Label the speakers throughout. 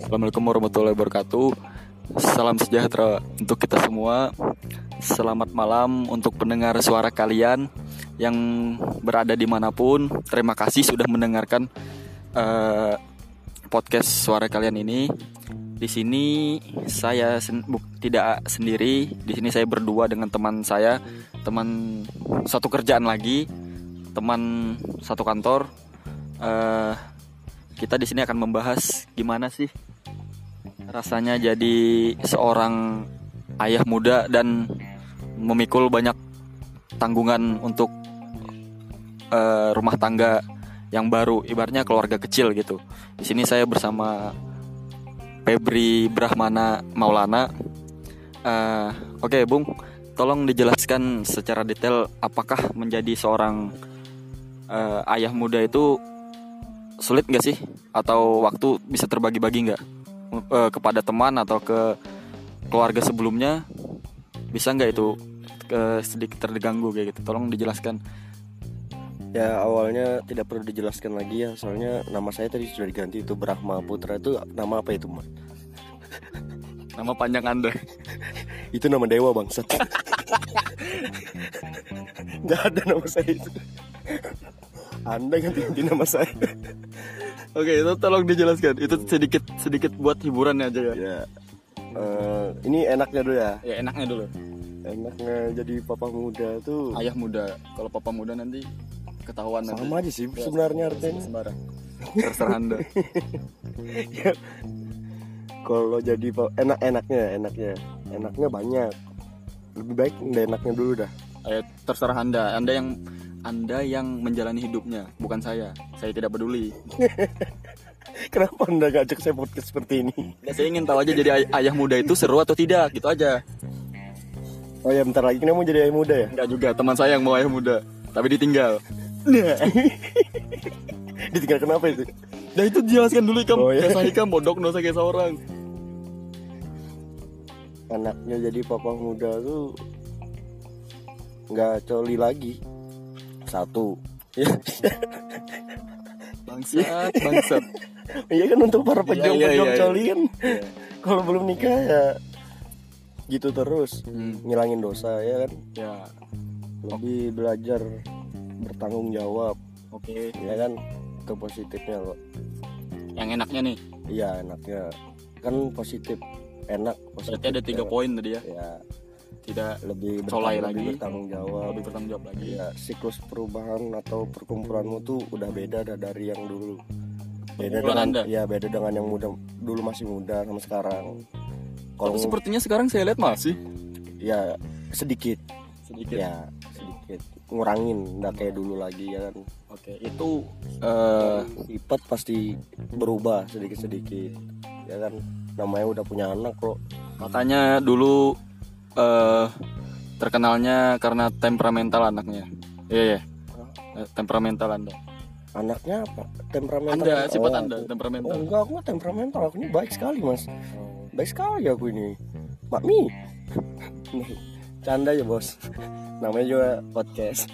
Speaker 1: Assalamualaikum warahmatullahi wabarakatuh. Salam sejahtera untuk kita semua. Selamat malam untuk pendengar suara kalian yang berada dimanapun. Terima kasih sudah mendengarkan eh, podcast suara kalian ini. Di sini saya sen- bu- tidak sendiri. Di sini saya berdua dengan teman saya, teman satu kerjaan lagi, teman satu kantor. Eh, kita di sini akan membahas gimana sih rasanya jadi seorang ayah muda dan memikul banyak tanggungan untuk eh, rumah tangga yang baru, ibaratnya keluarga kecil gitu. Di sini saya bersama Febri Brahmana Maulana. Eh, Oke, Bung, tolong dijelaskan secara detail apakah menjadi seorang eh, ayah muda itu sulit nggak sih? Atau waktu bisa terbagi-bagi nggak Eh, kepada teman atau ke keluarga sebelumnya? Bisa nggak itu eh, sedikit terganggu kayak gitu? Tolong dijelaskan.
Speaker 2: Ya awalnya tidak perlu dijelaskan lagi ya Soalnya nama saya tadi sudah diganti itu Brahma Putra itu nama apa itu Ma?
Speaker 1: Nama panjang Anda.
Speaker 2: Itu nama dewa bangsat Gak ada nama saya itu Anda ganti-ganti nama saya
Speaker 1: Oke, itu tolong dijelaskan. Itu sedikit sedikit buat hiburan aja ya.
Speaker 2: Ya eh, Ini enaknya dulu ya
Speaker 1: Ya enaknya dulu.
Speaker 2: Enaknya jadi papa muda tuh
Speaker 1: Ayah muda. Kalau papa muda nanti ketahuan nanti. Ya,
Speaker 2: Sama aja sih sebenarnya artinya
Speaker 1: sembarang. Terserah Anda.
Speaker 2: Kalau jadi pa- enak-enaknya enaknya Enaknya banyak Lebih baik nggak enaknya dulu dah
Speaker 1: Eh, terserah Anda. Anda yang Anda yang menjalani hidupnya, bukan saya. Saya tidak peduli.
Speaker 2: Kenapa anda ngajak saya podcast seperti ini?
Speaker 1: Ya, saya ingin tahu aja jadi ay- ayah muda itu seru atau tidak, gitu aja.
Speaker 2: Oh ya bentar lagi kita mau jadi ayah muda ya?
Speaker 1: Enggak juga, teman saya yang mau ayah muda, tapi ditinggal.
Speaker 2: Ditinggal kenapa itu?
Speaker 1: Nah itu jelaskan dulu ikam,
Speaker 2: Oh, iya.
Speaker 1: Kisah ikam bodok dosa kayak seorang.
Speaker 2: Anaknya jadi papa muda tuh nggak coli lagi satu.
Speaker 1: Iya.
Speaker 2: Ya,
Speaker 1: Bangsat, bangsat.
Speaker 2: iya kan untuk para pejuang
Speaker 1: iya,
Speaker 2: pejuang
Speaker 1: iya, iya.
Speaker 2: coli kan.
Speaker 1: Iya.
Speaker 2: Kalau belum nikah ya gitu terus
Speaker 1: Hmm. Oh.
Speaker 2: ngilangin dosa ya kan.
Speaker 1: Ya,
Speaker 2: Lebih belajar bertanggung jawab
Speaker 1: oke.
Speaker 2: ya kan ke positifnya loh.
Speaker 1: Yang enaknya nih,
Speaker 2: Iya enaknya kan positif enak positif.
Speaker 1: berarti ada tiga
Speaker 2: ya.
Speaker 1: poin tadi ya.
Speaker 2: Ya
Speaker 1: Tidak
Speaker 2: lebih
Speaker 1: Colai
Speaker 2: bertanggung,
Speaker 1: lagi.
Speaker 2: lebih bertanggung jawab.
Speaker 1: lebih bertanggung jawab lagi.
Speaker 2: Iya, siklus perubahan atau perkumpulanmu tuh udah beda dah dari yang dulu. Beda
Speaker 1: Perkumpulan
Speaker 2: dengan
Speaker 1: Anda?
Speaker 2: ya beda dengan yang muda dulu masih muda sama sekarang. Kalau
Speaker 1: Tapi sepertinya sekarang saya lihat masih
Speaker 2: ya sedikit,
Speaker 1: sedikit.
Speaker 2: ya sedikit ngurangin nggak kayak dulu lagi ya kan.
Speaker 1: Oke, itu eh
Speaker 2: Sifat pasti berubah sedikit-sedikit. Ya kan namanya udah punya anak kok.
Speaker 1: katanya dulu eh terkenalnya karena temperamental anaknya. Iya, iya. Eh, temperamental Anda.
Speaker 2: Anaknya apa? Temperamental.
Speaker 1: Anda sifat
Speaker 2: Oh,
Speaker 1: Anda
Speaker 2: aku- Oh,
Speaker 1: temperamental.
Speaker 2: enggak, aku mah temperamental. Aku ini baik sekali, Mas. baik sekali aku ini Mami Nih, Canda ya bos Namanya juga podcast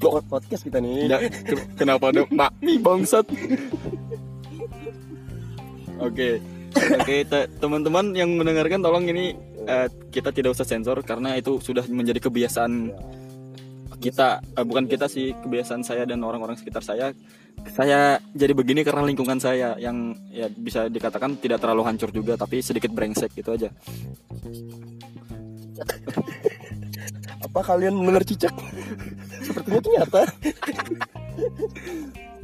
Speaker 2: Blok podcast kita nih
Speaker 1: Ya, ken- kenapa ada makmi bangsat? Oke. Oke, te- teman-teman yang mendengarkan tolong ini eh, kita tidak usah sensor karena itu sudah menjadi kebiasaan kita eh, bukan kita sih kebiasaan saya dan orang-orang sekitar saya. Saya jadi begini karena lingkungan saya yang ya bisa dikatakan tidak terlalu hancur juga tapi sedikit brengsek gitu aja.
Speaker 2: Apa kalian mendengar cicak? Sepertinya itu nyata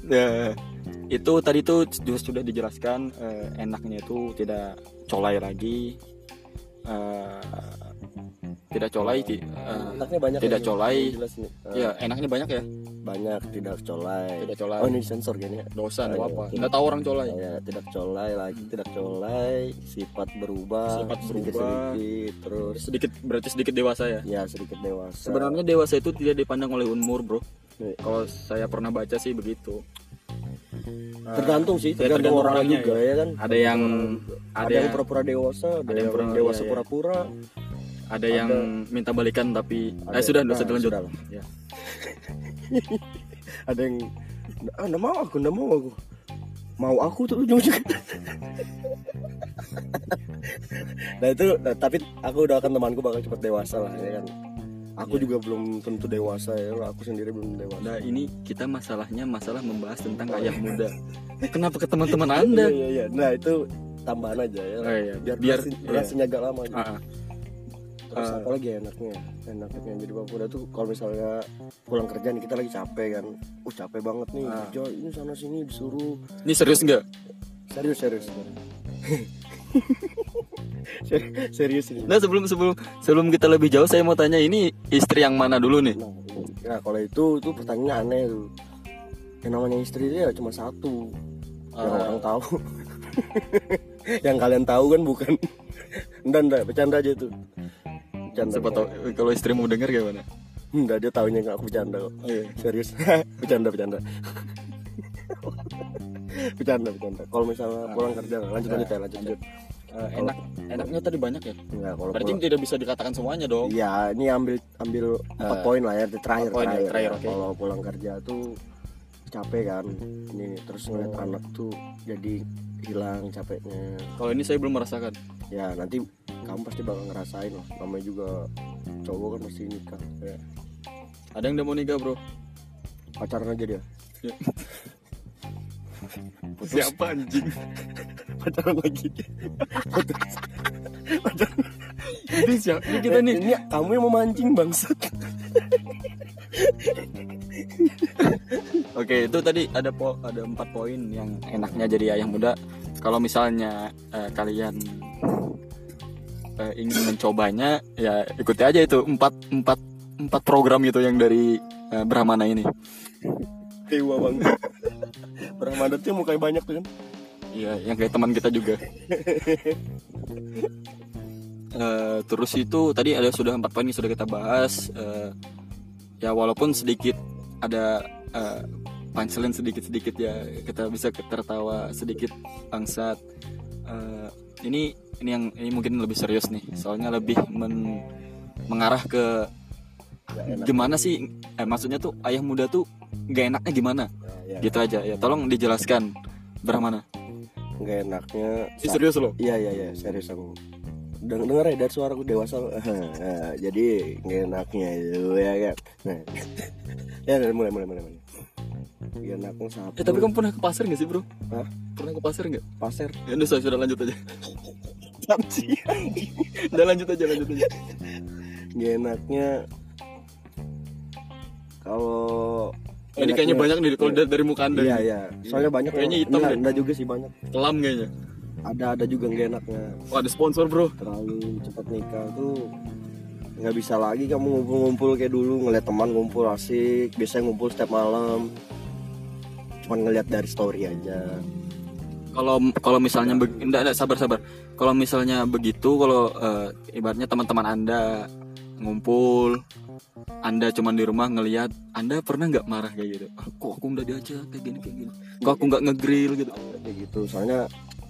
Speaker 1: Ya, itu tadi tuh juga sudah dijelaskan eh, enaknya itu tidak colai lagi eh, tidak colai ti- eh,
Speaker 2: Anaknya banyak
Speaker 1: Tidak
Speaker 2: lagi.
Speaker 1: colai.
Speaker 2: Jelas nih. Eh,
Speaker 1: ya enaknya banyak ya
Speaker 2: Banyak tidak colai
Speaker 1: tidak colai
Speaker 2: Oh ini sensor kayaknya
Speaker 1: dosa
Speaker 2: Oh,
Speaker 1: nggak
Speaker 2: iya.
Speaker 1: apa nggak tahu orang colai
Speaker 2: Ya, tidak colai lagi tidak colai sifat berubah
Speaker 1: Hmm. Sifat
Speaker 2: sedikit
Speaker 1: berubah.
Speaker 2: sedikit terus
Speaker 1: sedikit berarti sedikit dewasa ya
Speaker 2: ya sedikit dewasa
Speaker 1: sebenarnya dewasa itu tidak dipandang oleh umur bro
Speaker 2: Iya.
Speaker 1: kalau saya pernah baca sih begitu Eh,
Speaker 2: tergantung sih
Speaker 1: ya,
Speaker 2: tergantung,
Speaker 1: tergantung
Speaker 2: orang
Speaker 1: orangnya,
Speaker 2: juga ya kan
Speaker 1: ada yang
Speaker 2: ada,
Speaker 1: ada
Speaker 2: yang
Speaker 1: yang
Speaker 2: pura-pura dewasa ada,
Speaker 1: ada yang
Speaker 2: yang,
Speaker 1: pura- iya,
Speaker 2: dewasa
Speaker 1: iya.
Speaker 2: pura-pura
Speaker 1: ada yang minta balikan tapi eh sudah
Speaker 2: nah,
Speaker 1: dosa lanjut
Speaker 2: sudah lah.
Speaker 1: Ya.
Speaker 2: ada yang ah nggak mau aku nggak mau aku mau aku tuh ujung-ujung nah itu nah, tapi aku doakan temanku bakal cepet dewasa lah ya kan aku
Speaker 1: Iya.
Speaker 2: juga belum tentu dewasa ya aku sendiri belum dewasa
Speaker 1: Nah ini kita masalahnya masalah membahas tentang ayah muda. Kenapa ke teman-teman anda?
Speaker 2: iya iya iya. nah itu tambahan aja ya
Speaker 1: Oh, iya.
Speaker 2: biar
Speaker 1: Biar-
Speaker 2: biar durasi-
Speaker 1: iya.
Speaker 2: durasinya agak lama gitu.
Speaker 1: Ah, ah.
Speaker 2: terus
Speaker 1: Ah.
Speaker 2: apa lagi ya enaknya enaknya jadi bapak muda tuh kalau misalnya pulang kerja nih kita lagi capek kan uh capek banget nih
Speaker 1: Ah.
Speaker 2: kerja ini sana sini disuruh
Speaker 1: Ini serius nggak?
Speaker 2: serius serius serius, serius ini
Speaker 1: Nah sebelum sebelum sebelum kita lebih jauh saya mau tanya ini istri yang mana dulu nih?
Speaker 2: Nah, nah, kalau itu itu pertanyaan aneh tuh. Yang namanya istri itu ya cuma satu. Yang
Speaker 1: Ah.
Speaker 2: orang tahu. yang kalian tahu kan bukan. Enggak, enggak, bercanda aja itu. Bercanda.
Speaker 1: Siapa tahu eh, kalau istri mau dengar gimana?
Speaker 2: Enggak, dia tahunya enggak aku bercanda kok.
Speaker 1: Iya.
Speaker 2: Serius. bercanda, bercanda. bercanda, bercanda. Kalau misalnya pulang kerja, lanjut lanjut ya, lanjut. lanjut.
Speaker 1: Ah. Eh, enak enaknya tadi banyak ya.
Speaker 2: Enggak, kalau
Speaker 1: Berarti
Speaker 2: pulang-
Speaker 1: tidak bisa dikatakan semuanya dong.
Speaker 2: Iya, ini ambil ambil empat
Speaker 1: Eh,
Speaker 2: poin lah ya di terakhir
Speaker 1: poin ya,
Speaker 2: terakhir.
Speaker 1: terakhir,
Speaker 2: ya.
Speaker 1: oke.
Speaker 2: Kalau pulang kerja tuh capek kan, ini terus ngeliat
Speaker 1: Oh.
Speaker 2: anak tuh jadi hilang capeknya.
Speaker 1: Kalau ini saya belum merasakan.
Speaker 2: Ya nanti kamu pasti bakal ngerasain lah. Namanya juga cowok kan pasti nikah. Ya.
Speaker 1: Ada yang udah mau nikah bro?
Speaker 2: Pacaran aja dia.
Speaker 1: Ya.
Speaker 2: Putus.
Speaker 1: anjing?
Speaker 2: Pacaran lagi. Putus.
Speaker 1: ini siapa? Ini kita nih.
Speaker 2: Eh, Ini kamu yang memancing bangsat.
Speaker 1: Oke itu tadi ada po ada empat poin yang enaknya jadi ayah muda. Kalau misalnya eh, kalian eh, ingin mencobanya ya ikuti aja itu empat empat empat program gitu yang dari eh, Brahmana ini.
Speaker 2: Dewa bangsat. Rahmadatnya mukanya banyak tuh kan.
Speaker 1: Iya, yang kayak teman kita juga. Eh, terus itu tadi ada sudah empat poin yang sudah kita bahas. Eh, ya walaupun sedikit ada eh, punchline sedikit-sedikit ya kita bisa tertawa sedikit bangsat. Eh, ini ini yang ini mungkin lebih serius nih, soalnya lebih men- mengarah ke
Speaker 2: Nggak enak.
Speaker 1: gimana sih? Eh, maksudnya tuh ayah muda tuh gak enaknya gimana?
Speaker 2: Nah, ya.
Speaker 1: Gitu aja ya. Tolong dijelaskan. Brahmana.
Speaker 2: Nggak enaknya.
Speaker 1: Ih, serius loh.
Speaker 2: Iya iya iya serius aku Deng denger ya dari suaraku dewasa lo. Eh, jadi nggak enaknya itu ya kan nah. ya dari mulai mulai mulai mulai Nggak enaknya satu
Speaker 1: Eh tapi kamu pernah ke pasar gak sih bro?
Speaker 2: Hah?
Speaker 1: Pernah ke pasar gak?
Speaker 2: pasir
Speaker 1: Ya udah sudah, sudah lanjut aja Udah lanjut aja lanjut aja
Speaker 2: nggak enaknya kalau
Speaker 1: Ini kayaknya banyak nih kalau dari, dari muka anda
Speaker 2: iya
Speaker 1: ini.
Speaker 2: iya soalnya banyak
Speaker 1: Kayaknya
Speaker 2: yang-
Speaker 1: hitam
Speaker 2: nggak,
Speaker 1: deh.
Speaker 2: nggak juga sih banyak
Speaker 1: Kelam kayaknya
Speaker 2: ada ada juga nggak enaknya
Speaker 1: Wah ada sponsor bro
Speaker 2: terlalu cepat nikah tuh nggak bisa lagi kamu ngumpul-ngumpul kayak dulu ngeliat teman ngumpul asik biasanya ngumpul setiap malam cuman ngeliat dari story aja
Speaker 1: Kalau kalau misalnya be- enggak, enggak, sabar sabar Kalau misalnya begitu Kalau eh, ibaratnya teman-teman anda Ngumpul anda cuman di rumah ngelihat Anda pernah nggak marah kayak gitu "Ah, Kok aku nggak diajak kayak gini kayak gini Kok aku nggak ngegrill gitu
Speaker 2: kayak gitu soalnya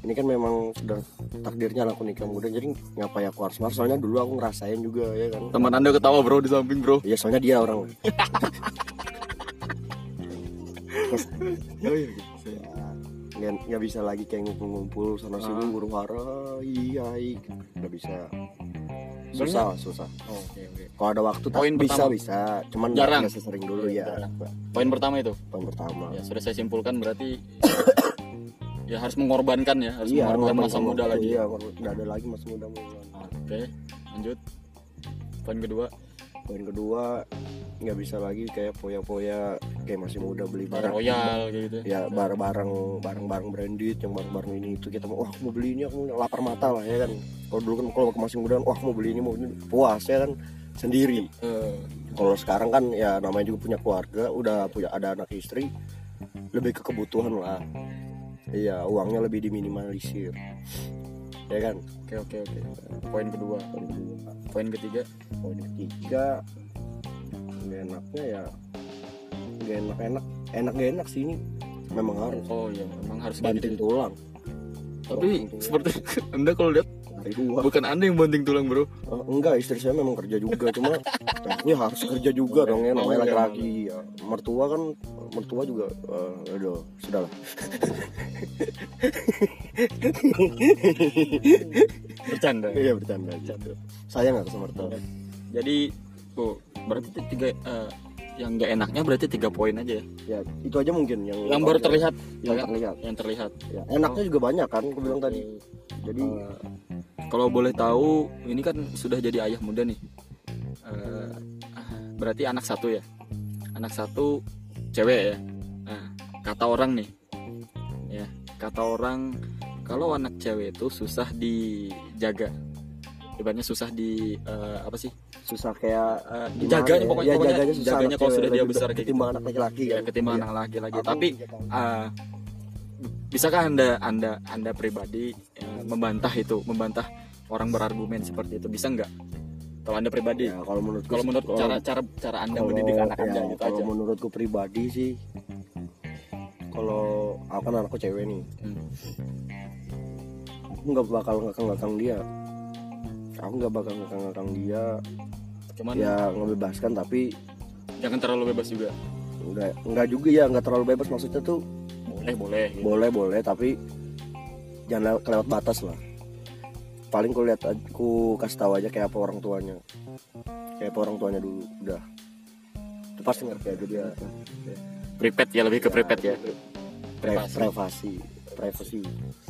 Speaker 2: ini kan memang sudah takdirnya lah aku nikah muda jadi ngapain aku harus marah soalnya dulu aku ngerasain juga ya kan
Speaker 1: Teman anda ketawa bro di samping bro
Speaker 2: ya soalnya dia orang Terus, ya, nggak nggak bisa lagi kayak ngumpul-ngumpul sana sini
Speaker 1: Ah.
Speaker 2: huru hara iya iya. nggak bisa
Speaker 1: Soalnya-
Speaker 2: susah susah
Speaker 1: Oke oke
Speaker 2: kalau ada waktu
Speaker 1: Poin
Speaker 2: tak- bisa
Speaker 1: pertama.
Speaker 2: bisa cuman
Speaker 1: Jarang.
Speaker 2: nggak sesering dulu
Speaker 1: Iya,
Speaker 2: ya
Speaker 1: jarang. Poin pertama itu
Speaker 2: poin pertama
Speaker 1: ya sudah saya simpulkan berarti ya harus mengorbankan ya harus mengorbankan masa
Speaker 2: ngomong-
Speaker 1: muda lagi
Speaker 2: iya nggak ada lagi masa muda mau ulang.
Speaker 1: oke lanjut poin kedua
Speaker 2: poin kedua nggak bisa lagi kayak poya-poya kayak masih muda beli
Speaker 1: Bar
Speaker 2: barang
Speaker 1: royal kayak gitu
Speaker 2: ya barang-barang barang-barang branded yang barang-barang ini itu kita mau wah aku mau beli ini aku mau lapar mata lah ya kan kalau dulu kan kalau ke masih muda wah aku mau beli ini mau beli ini. puas ya kan sendiri
Speaker 1: Eh,
Speaker 2: kalau sekarang kan ya namanya juga punya keluarga udah punya ada anak istri lebih ke kebutuhan lah iya uangnya lebih diminimalisir ya kan
Speaker 1: oke oke oke poin kedua
Speaker 2: poin kedua
Speaker 1: poin ketiga
Speaker 2: poin ketiga nggak enaknya ya nggak enak enak enak nggak enak sih ini memang harus
Speaker 1: oh iya memang harus kayak
Speaker 2: banting
Speaker 1: gitu
Speaker 2: tulang
Speaker 1: tapi
Speaker 2: Banting tulang.
Speaker 1: seperti anda kalau lihat
Speaker 2: lantai dua
Speaker 1: Bukan anda yang banting tulang bro
Speaker 2: Eh, enggak istri saya memang kerja juga cuma aku ya harus kerja juga dong ya namanya laki-laki ya, mertua kan mertua juga eh, aduh sudahlah
Speaker 3: bercanda
Speaker 2: iya bercanda aja Iya. sayang aku sama mertua
Speaker 1: Jadi bu, berarti itu tiga eh, yang nggak enaknya berarti tiga poin aja ya
Speaker 2: ya itu aja mungkin yang
Speaker 1: Yang baru terlihat ya
Speaker 2: yang
Speaker 1: kan?
Speaker 2: terlihat
Speaker 1: Yang terlihat
Speaker 2: ya. enaknya juga banyak kan aku bilang tadi jadi
Speaker 1: Eh, Kalau boleh tahu ini kan sudah jadi ayah muda nih Eh, Berarti anak satu ya Anak satu cewek ya Nah, Kata orang nih ya Kata orang kalau anak cewek itu susah dijaga Ibaratnya susah di eh, apa sih
Speaker 2: susah kayak
Speaker 1: Eh,
Speaker 2: gimana
Speaker 1: jaganya
Speaker 2: ya,
Speaker 1: pokoknya,
Speaker 2: ya,
Speaker 1: pokoknya
Speaker 2: jaganya susah
Speaker 1: jaganya
Speaker 2: anak
Speaker 1: kalau
Speaker 2: cewek
Speaker 1: sudah dia
Speaker 2: lebih
Speaker 1: besar kayak gitu
Speaker 2: ketimbang anak laki-laki
Speaker 1: ya,
Speaker 2: kan.
Speaker 1: ketimbang
Speaker 2: Iya.
Speaker 1: anak laki-laki
Speaker 2: Aku
Speaker 1: tapi
Speaker 2: juga tahu.
Speaker 1: eh, bisakah anda anda anda pribadi eh, membantah itu membantah orang berargumen seperti itu bisa nggak kalau anda pribadi
Speaker 2: Ya, kalau menurut
Speaker 1: kalau menurut cara cara cara anda mendidik anak anda gitu
Speaker 2: ya, kalau
Speaker 1: aja
Speaker 2: menurutku pribadi sih kalau aku kan anakku cewek nih
Speaker 1: Hmm.
Speaker 2: aku nggak bakal ngekang-ngekang dia aku nggak bakal ngekang-ngekang dia
Speaker 1: cuman
Speaker 2: ya ngebebaskan tapi
Speaker 1: jangan terlalu bebas juga
Speaker 2: nggak nggak juga ya nggak terlalu bebas maksudnya tuh
Speaker 1: boleh boleh gitu.
Speaker 2: boleh boleh tapi jangan lew- kelewat batas lah paling ku lihat aj- ku kasih tahu aja kayak apa orang tuanya kayak apa orang tuanya dulu udah itu pasti ngerti aja dia
Speaker 1: private ya lebih ke private ya
Speaker 2: Pre-
Speaker 1: privasi
Speaker 2: privasi privasi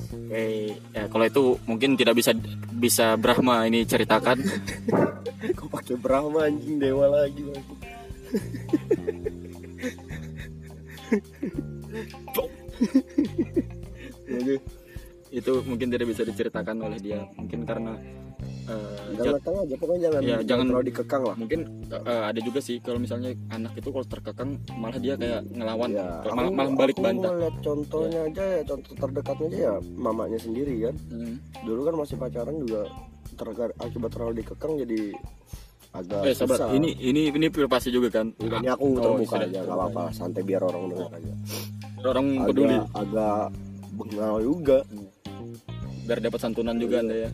Speaker 1: Oke, ya, kalau itu mungkin tidak bisa bisa Brahma ini ceritakan
Speaker 2: kok pakai Brahma anjing dewa lagi Bang.
Speaker 1: Jadi, itu mungkin tidak bisa diceritakan oleh dia mungkin karena eh,
Speaker 2: jangan
Speaker 1: jat-
Speaker 2: lekang aja pokoknya jangan
Speaker 1: Iya, jangan-
Speaker 2: terlalu dikekang lah
Speaker 1: mungkin eh, ada juga sih kalau misalnya anak itu kalau terkekang malah dia kayak ngelawan
Speaker 2: Iya,
Speaker 1: Kalau malah,
Speaker 2: aku-
Speaker 1: malah balik
Speaker 2: aku
Speaker 1: bantah
Speaker 2: ngeliat contohnya aja ya contoh terdekatnya aja ya mamanya sendiri kan
Speaker 1: Hmm.
Speaker 2: dulu kan masih pacaran juga tergar- akibat terlalu dikekang jadi agak
Speaker 1: eh sabar
Speaker 2: susah.
Speaker 1: ini ini ini privasi juga kan
Speaker 2: Enggak, ini aku
Speaker 1: Oh,
Speaker 2: terbuka
Speaker 1: sudah,
Speaker 2: aja nggak
Speaker 1: terbuka
Speaker 2: apa-apa santai biar orang dengar aja
Speaker 1: orang
Speaker 2: agak
Speaker 1: peduli
Speaker 2: agak bengal juga
Speaker 1: biar dapat santunan juga anda ya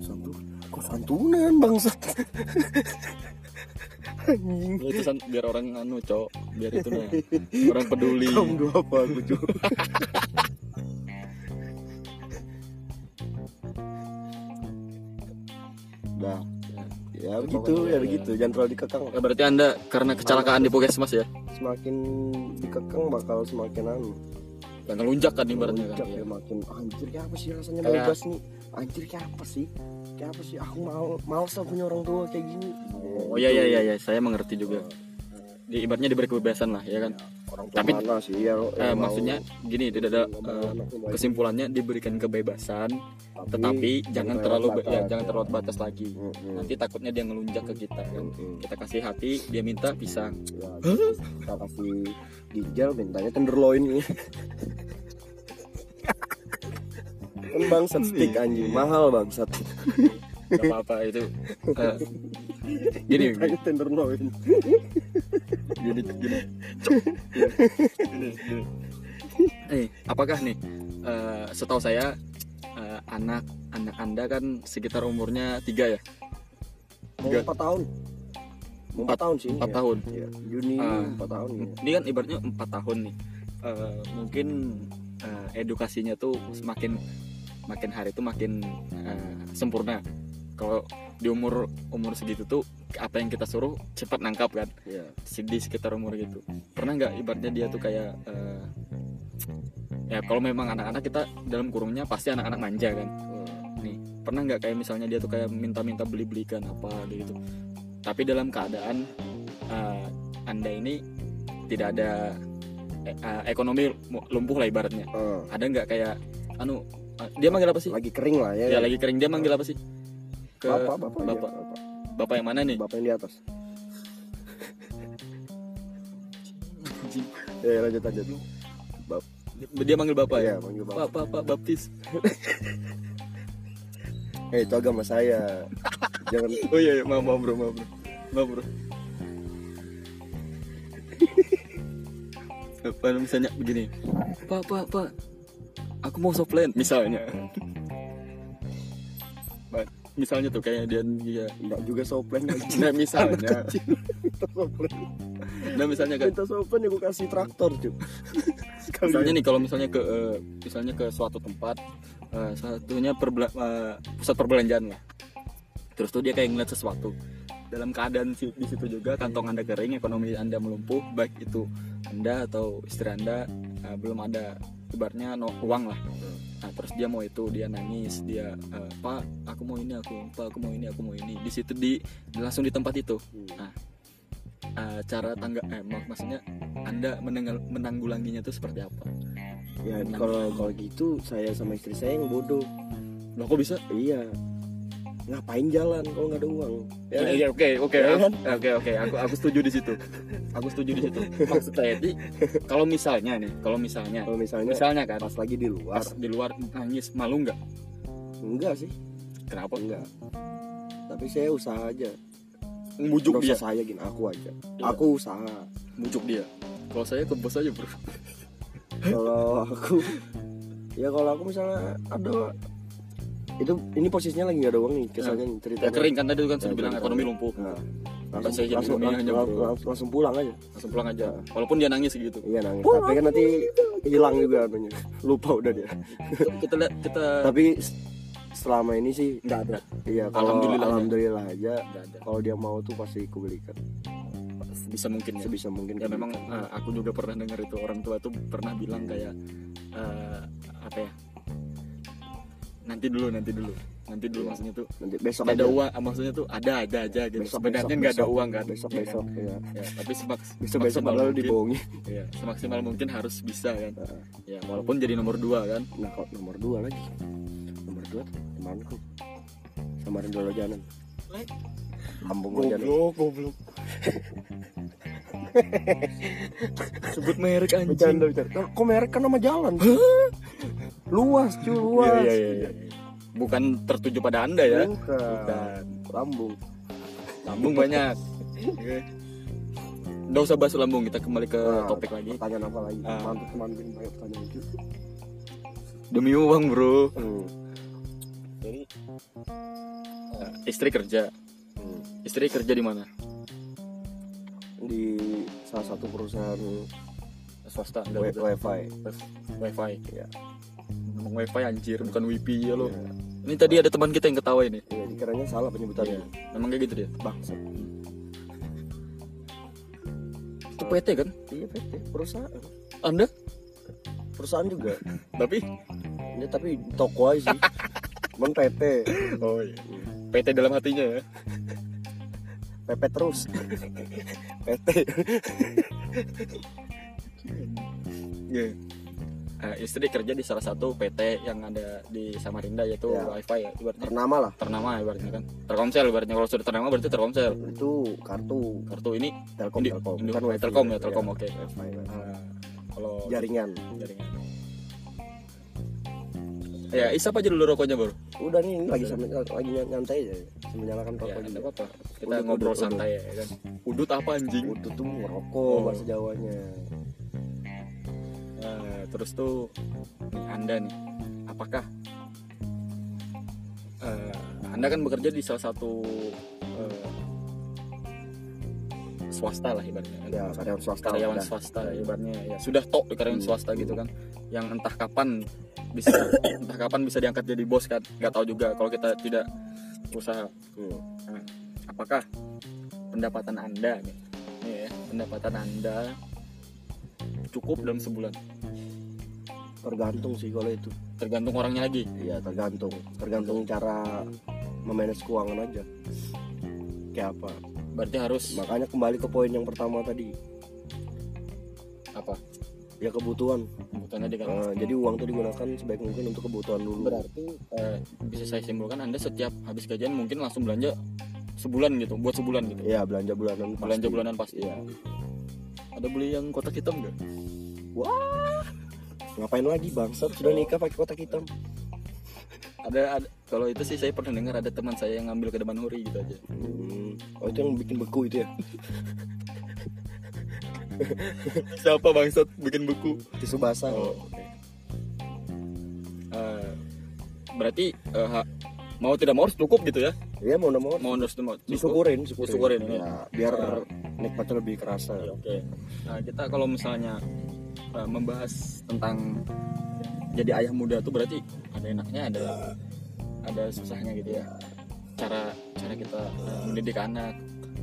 Speaker 2: Santun- kok santunan bangsat anjing
Speaker 1: Ya, itu san- biar orang anu cowok biar itu nah orang peduli
Speaker 2: kamu dua apa aku cuy Nah, ya begitu, ya begitu. Jangan terlalu dikekang.
Speaker 1: Ya, berarti anda karena kecelakaan di Pokesmas ya
Speaker 2: Semakin dikekang bakal semakin anu.
Speaker 1: yang ngelunjak kan ibaratnya kan
Speaker 2: Melonjak
Speaker 1: Iya.
Speaker 2: ya makin anjir kayak apa sih rasanya
Speaker 1: Kayak-
Speaker 2: bebas nih. Anjir kayak apa sih? Kayak apa sih? Aku mau males lah punya orang tua kayak gini.
Speaker 1: oh iya iya iya iya, saya mengerti juga di ibaratnya diberi kebebasan lah ya kan
Speaker 2: Iya, Orang tua
Speaker 1: Tapi-
Speaker 2: mana sih ya,
Speaker 1: Eh, maksudnya gini tidak ada eh, kesimpulannya diberikan kebebasan tetapi jangan terlalu be- ya, jangan terlalu batas lagi nanti takutnya dia ngelunjak ke kita kan kita kasih hati dia minta pisang
Speaker 2: Ya, terus kita kasih ginjal mintanya tenderloin nih kan bangsat stick
Speaker 1: Iya.
Speaker 2: anjing mahal bangsat
Speaker 1: nggak apa apa itu eh, gini gini
Speaker 2: mintanya tenderloin
Speaker 1: gini, gini. Gini, gini. Eh, apakah nih eh, setahu saya eh, anak anak anda kan sekitar umurnya tiga ya
Speaker 2: mau
Speaker 1: Tiga.
Speaker 2: empat tahun mau empat tahun sih ini
Speaker 1: empat
Speaker 2: ya.
Speaker 1: tahun
Speaker 2: Iya, Juni
Speaker 1: Ah.
Speaker 2: empat tahun ya.
Speaker 1: ini kan ibaratnya empat tahun nih Eh, mungkin eh, edukasinya tuh semakin makin hari tuh makin eh, sempurna kalau di umur umur segitu tuh apa yang kita suruh cepat nangkap kan
Speaker 2: Iya.
Speaker 1: Se- di sekitar umur gitu pernah nggak ibaratnya dia tuh kayak eh, ya kalau memang anak-anak kita dalam kurungnya pasti anak-anak manja kan pernah nggak kayak misalnya dia tuh kayak minta-minta beli-belikan apa gitu tapi dalam keadaan eh, anda ini tidak ada eh, eh, ekonomi mu- lumpuh lah ibaratnya
Speaker 2: Ah,
Speaker 1: ada nggak kayak anu eh, dia manggil apa sih
Speaker 2: lagi kering lah ya,
Speaker 1: ya lagi kering dia manggil apa sih ke
Speaker 2: bapak bapak iya,
Speaker 1: bapak.
Speaker 2: bapak
Speaker 1: bapak yang mana nih
Speaker 2: bapak yang di atas ya lanjut lanjut
Speaker 1: dia manggil bapak ya
Speaker 2: Iya, manggil bapak.
Speaker 1: Pak, Pak, Pak Baptis.
Speaker 2: Eh, itu agama saya. Jangan
Speaker 1: Oh iya, iya, maaf, maaf bro, maaf bro, maaf bro. Kalau misalnya begini, Pak, Pak, Pak, aku mau soplen misalnya. misalnya tuh kayak dia dia
Speaker 2: Enggak juga soplen anjing.
Speaker 1: nah misalnya
Speaker 2: Anak kecil minta soplen.
Speaker 1: nah misalnya kan
Speaker 2: Minta soplen ya gue kasih traktor, cuy. Sekali.
Speaker 1: misalnya nih kalau misalnya ke eh, misalnya ke suatu tempat eh, satunya perbela- eh, pusat perbelanjaan lah terus tuh dia kayak ngeliat sesuatu dalam keadaan si- di situ juga kantong anda kering ekonomi anda melumpuh baik itu anda atau istri anda eh, belum ada ibaratnya no, uang lah nah terus dia mau itu dia nangis dia eh, pak aku mau ini aku pak aku mau ini aku mau ini di situ di langsung di tempat itu eh, cara tangga eh, mak- maksudnya anda menenggal- menanggulanginya itu seperti apa
Speaker 2: Ya kalau kalau gitu saya sama istri saya yang bodoh.
Speaker 1: Loh kok bisa?
Speaker 2: Iya. Ngapain jalan kalau nggak ada uang? Ya,
Speaker 1: Eh, iya, Oke, oke,
Speaker 2: Ya kan?
Speaker 1: aku- oke, oke. Aku aku setuju di situ. Aku setuju di situ. Maksud saya di kalau misalnya nih, kalau misalnya
Speaker 2: Kalau misalnya
Speaker 1: misalnya kan
Speaker 2: pas lagi di luar,
Speaker 1: pas di luar nangis malu nggak?
Speaker 2: enggak sih,
Speaker 1: Kenapa?
Speaker 2: enggak. Tapi saya usaha aja.
Speaker 1: Bujuk
Speaker 2: Nggak
Speaker 1: dia,
Speaker 2: usah saya gini, aku aja.
Speaker 1: Iya.
Speaker 2: Aku usaha.
Speaker 1: bujuk dia. Kalau saya ke bos aja, Bro.
Speaker 2: Iya, Kalau aku ya kalau aku misalnya ada itu ini posisinya lagi nggak ada uang nih kesannya nih ceritanya.
Speaker 1: Ya kering kan tadi kan
Speaker 2: Ya,
Speaker 1: sudah bilang
Speaker 2: kering.
Speaker 1: ekonomi lumpuh.
Speaker 2: Nah,
Speaker 1: Saya
Speaker 2: langsung,
Speaker 1: jadi
Speaker 2: langsung,
Speaker 1: dunia hanya
Speaker 2: langsung-
Speaker 1: bro.
Speaker 2: langsung- langsung pulang aja.
Speaker 1: Langsung pulang aja. Walaupun dia nangis gitu.
Speaker 2: Iya nangis. Tapi kan nanti hilang juga anunya. Lupa udah dia. Iya.
Speaker 1: Kita lihat kita
Speaker 2: Tapi s- selama ini sih
Speaker 1: nggak ada.
Speaker 2: iya kalau
Speaker 1: Alhamdulillah
Speaker 2: alhamdulillah,
Speaker 1: aja.
Speaker 2: aja
Speaker 1: Nggak ada.
Speaker 2: kalau dia mau tuh pasti kubelikan
Speaker 1: Bisa mungkin ya.
Speaker 2: sebisa mungkin.
Speaker 1: ya memang
Speaker 2: kubelikan.
Speaker 1: eh, aku juga pernah dengar itu orang tua tuh pernah bilang kayak eh, apa ya nanti dulu nanti dulu nanti dulu maksudnya tuh
Speaker 2: nanti besok
Speaker 1: nggak ada
Speaker 2: aja.
Speaker 1: uang ah, maksudnya tuh ada ada aja gitu
Speaker 2: Besok,
Speaker 1: sebenarnya
Speaker 2: besok,
Speaker 1: nggak ada
Speaker 2: besok.
Speaker 1: uang kan
Speaker 2: Besok
Speaker 1: ya kan?
Speaker 2: besok ya.
Speaker 1: Ya, tapi semak,
Speaker 2: Besok besok
Speaker 1: semaksimal
Speaker 2: padahal
Speaker 1: mungkin-
Speaker 2: dibohongi.
Speaker 1: ya, semaksimal mungkin harus bisa kan
Speaker 2: Heeh.
Speaker 1: ya walaupun jadi nomor dua kan
Speaker 2: Nah kalau nomor dua lagi Nomor dua temanku Sama Rendolo Janan
Speaker 1: Lek.
Speaker 2: Lambung lo Janan
Speaker 1: goblok sebut merek anjing
Speaker 2: Bercanda bercanda Nah, Kok merek kan nama jalan Luas cuy luas
Speaker 1: Iya, iya, iya, iya. bukan tertuju pada anda ya
Speaker 2: Bukan
Speaker 1: bukan
Speaker 2: Lambung
Speaker 1: Lambung banyak. Oke. Nggak usah bahas lambung, kita kembali ke
Speaker 2: Nah,
Speaker 1: Eh, topik lagi.
Speaker 2: Pertanyaan apa lagi
Speaker 1: Ah.
Speaker 2: Mantap temanku Banyak pertanyaan lucu
Speaker 1: Demi uang, Bro.
Speaker 2: Hmm.
Speaker 1: Jadi eh, istri kerja.
Speaker 2: Hmm.
Speaker 1: Istri kerja di mana?
Speaker 2: Di salah satu perusahaan
Speaker 1: Swasta.
Speaker 2: wi-
Speaker 1: nggak ada.
Speaker 2: Wi-Fi
Speaker 1: Wi-Fi.
Speaker 2: Iya.
Speaker 1: Ngomong Wi-Fi anjir, bukan WiFi ya lo.
Speaker 2: Iya.
Speaker 1: Ini tadi ada teman kita yang ketawa ini.
Speaker 2: Iya dikiranya salah
Speaker 1: Tadi.
Speaker 2: penyebutannya
Speaker 1: Memang kayak gitu dia.
Speaker 2: Bangsa
Speaker 1: Itu PT kan?
Speaker 2: Iya PT Perusahaan
Speaker 1: Anda?
Speaker 2: Perusahaan juga
Speaker 1: Tapi
Speaker 2: Ini tapi toko aja sih Cuman PT
Speaker 1: Oh iya. PT dalam hatinya ya.
Speaker 2: PP terus PT
Speaker 1: Iya. Eh, istri kerja di salah satu PT yang ada di Samarinda yaitu
Speaker 2: Iya.
Speaker 1: Wi-Fi ya. Ibaratnya
Speaker 2: ternama lah
Speaker 1: ternama ibaratnya kan terkomsel ibaratnya kalau sudah ternama berarti terkomsel
Speaker 2: itu kartu
Speaker 1: kartu ini
Speaker 2: telkom
Speaker 1: Indi-
Speaker 2: Kan telkom
Speaker 1: Indo-
Speaker 2: bukan wifi Iya.
Speaker 1: Telkom ya, Telkom, oke.
Speaker 2: Wifi, wifi.
Speaker 1: eh, kalau
Speaker 2: jaringan
Speaker 1: jaringan ya isap aja dulu rokoknya baru
Speaker 2: udah nih ini lagi sambil lagi ny- nyantai aja sambil nyalakan
Speaker 1: ya
Speaker 2: rokok
Speaker 1: nggak
Speaker 2: juga
Speaker 1: apa-apa kita
Speaker 2: Udut,
Speaker 1: ngobrol
Speaker 2: udut,
Speaker 1: santai ya kan udut apa anjing
Speaker 2: itu tuh ngerokok
Speaker 1: Oh.
Speaker 2: bahasa Jawanya
Speaker 1: Eh, terus tuh nih, anda nih apakah eh, anda kan bekerja di salah satu eh, swasta lah ibaratnya kan?
Speaker 2: ya karyawan swasta
Speaker 1: karyawan
Speaker 2: udah.
Speaker 1: swasta ibaratnya ya sudah tok di karyawan
Speaker 2: Hmm.
Speaker 1: swasta gitu kan yang entah kapan bisa entah kapan bisa diangkat jadi bos kan nggak tahu juga kalau kita tidak usaha
Speaker 2: Hmm.
Speaker 1: apakah pendapatan anda nih, nih ya, pendapatan anda cukup dalam sebulan
Speaker 2: tergantung sih kalau itu
Speaker 1: tergantung orangnya lagi
Speaker 2: iya tergantung tergantung cara memanage keuangan aja kayak apa
Speaker 1: berarti harus
Speaker 2: makanya kembali ke poin yang pertama tadi
Speaker 1: apa
Speaker 2: ya kebutuhan
Speaker 1: kebutuhannya di kan
Speaker 2: Eh, jadi uang tuh digunakan sebaik mungkin untuk kebutuhan dulu
Speaker 1: berarti eh, bisa saya simpulkan anda setiap habis gajian mungkin langsung belanja sebulan gitu buat sebulan gitu
Speaker 2: Iya belanja bulanan pasti.
Speaker 1: belanja bulanan pasti
Speaker 2: Iya.
Speaker 1: ada beli yang kotak hitam nggak
Speaker 2: Ngapain lagi bangsat sudah nikah pakai kotak hitam.
Speaker 1: ada, ada- kalau itu sih saya pernah dengar ada teman saya yang ngambil ke depan huri gitu aja
Speaker 2: Hmm. Oh itu yang bikin beku itu ya.
Speaker 1: siapa bangsat bikin buku
Speaker 2: Tisu basah.
Speaker 1: oh, oke. Eh, berarti eh, ha- mau tidak mau harus cukup gitu ya
Speaker 2: Iya mau nggak mau
Speaker 1: mau harus mau cukup.
Speaker 2: disyukurin, syukurin.
Speaker 1: Disyukurin, ya.
Speaker 2: Ya, biar nikmatnya lebih kerasa.
Speaker 1: Ya, oke nah kita kalau misalnya eh, membahas tentang jadi ayah muda tuh berarti ada enaknya ada ada susahnya gitu ya cara cara kita eh, mendidik anak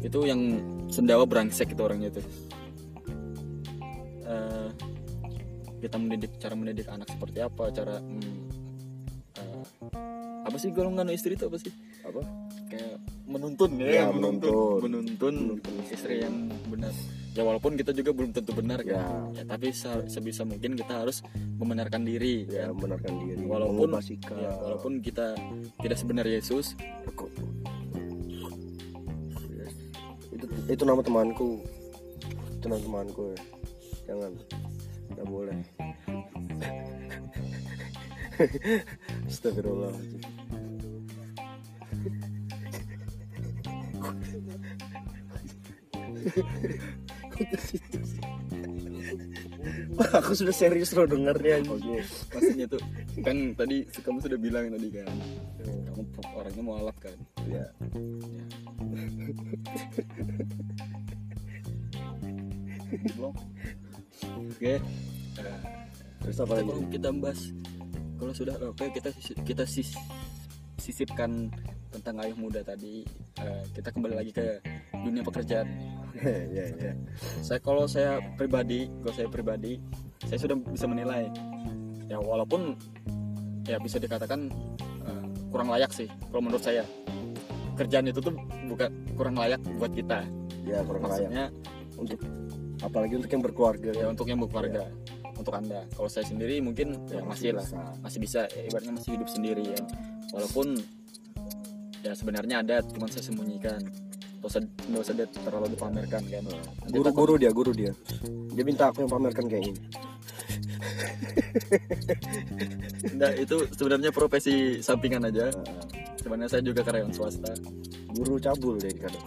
Speaker 1: itu yang sendawa berangsek itu orangnya itu Eh, kita mendidik cara mendidik anak seperti apa cara mm, eh, apa sih golongan istri itu apa sih
Speaker 2: Apa?
Speaker 1: kayak menuntun
Speaker 2: Ya,
Speaker 1: ya, menuntun.
Speaker 2: menuntun.
Speaker 1: menuntun istri yang benar ya walaupun kita juga belum tentu benar kan
Speaker 2: Ya,
Speaker 1: ya tapi se- sebisa mungkin kita harus membenarkan diri
Speaker 2: ya
Speaker 1: kan?
Speaker 2: membenarkan diri.
Speaker 1: Walaupun-
Speaker 2: mengubah sikap.
Speaker 1: Ya, walaupun kita tidak sebenar Yesus
Speaker 2: itu itu nama temanku itu nama temanku ya. jangan nggak boleh Astagfirullah Kok ke situ sih? Wah, aku sudah serius loh dengarnya anjing.
Speaker 1: pastinya tuh kan tadi kamu sudah bilang tadi kan kamu orangnya mau alap kan
Speaker 2: Ya.
Speaker 1: oke Eh,
Speaker 2: Terus
Speaker 1: kita
Speaker 2: apa lagi?
Speaker 1: kalau kita bahas kalau sudah oke kita sisi- kita sis- sisipkan tentang ayah muda tadi eh, kita kembali lagi ke dunia pekerjaan
Speaker 2: ya, ya.
Speaker 1: saya kalau saya pribadi kalau saya pribadi saya sudah bisa menilai ya walaupun ya bisa dikatakan eh, kurang layak sih kalau menurut saya kerjaan itu tuh bukan kurang layak buat kita
Speaker 2: Ya, kurang layak.
Speaker 1: maksudnya
Speaker 2: Untuk apalagi untuk yang berkeluarga
Speaker 1: ya untuk yang berkeluarga untuk anda kalau saya sendiri mungkin ya masih lah
Speaker 2: bisa.
Speaker 1: masih bisa ya, ibaratnya masih hidup sendiri ya walaupun ya sebenarnya ada cuman saya sembunyikan nggak usah nggak usah dia terlalu dipamerkan kan Nanti takut-
Speaker 2: guru-guru dia guru dia dia minta aku yang pamerkan kayak ini
Speaker 1: Nggak, itu sebenarnya profesi sampingan aja. Sebenarnya saya juga karyawan swasta.
Speaker 2: guru cabul dia kadang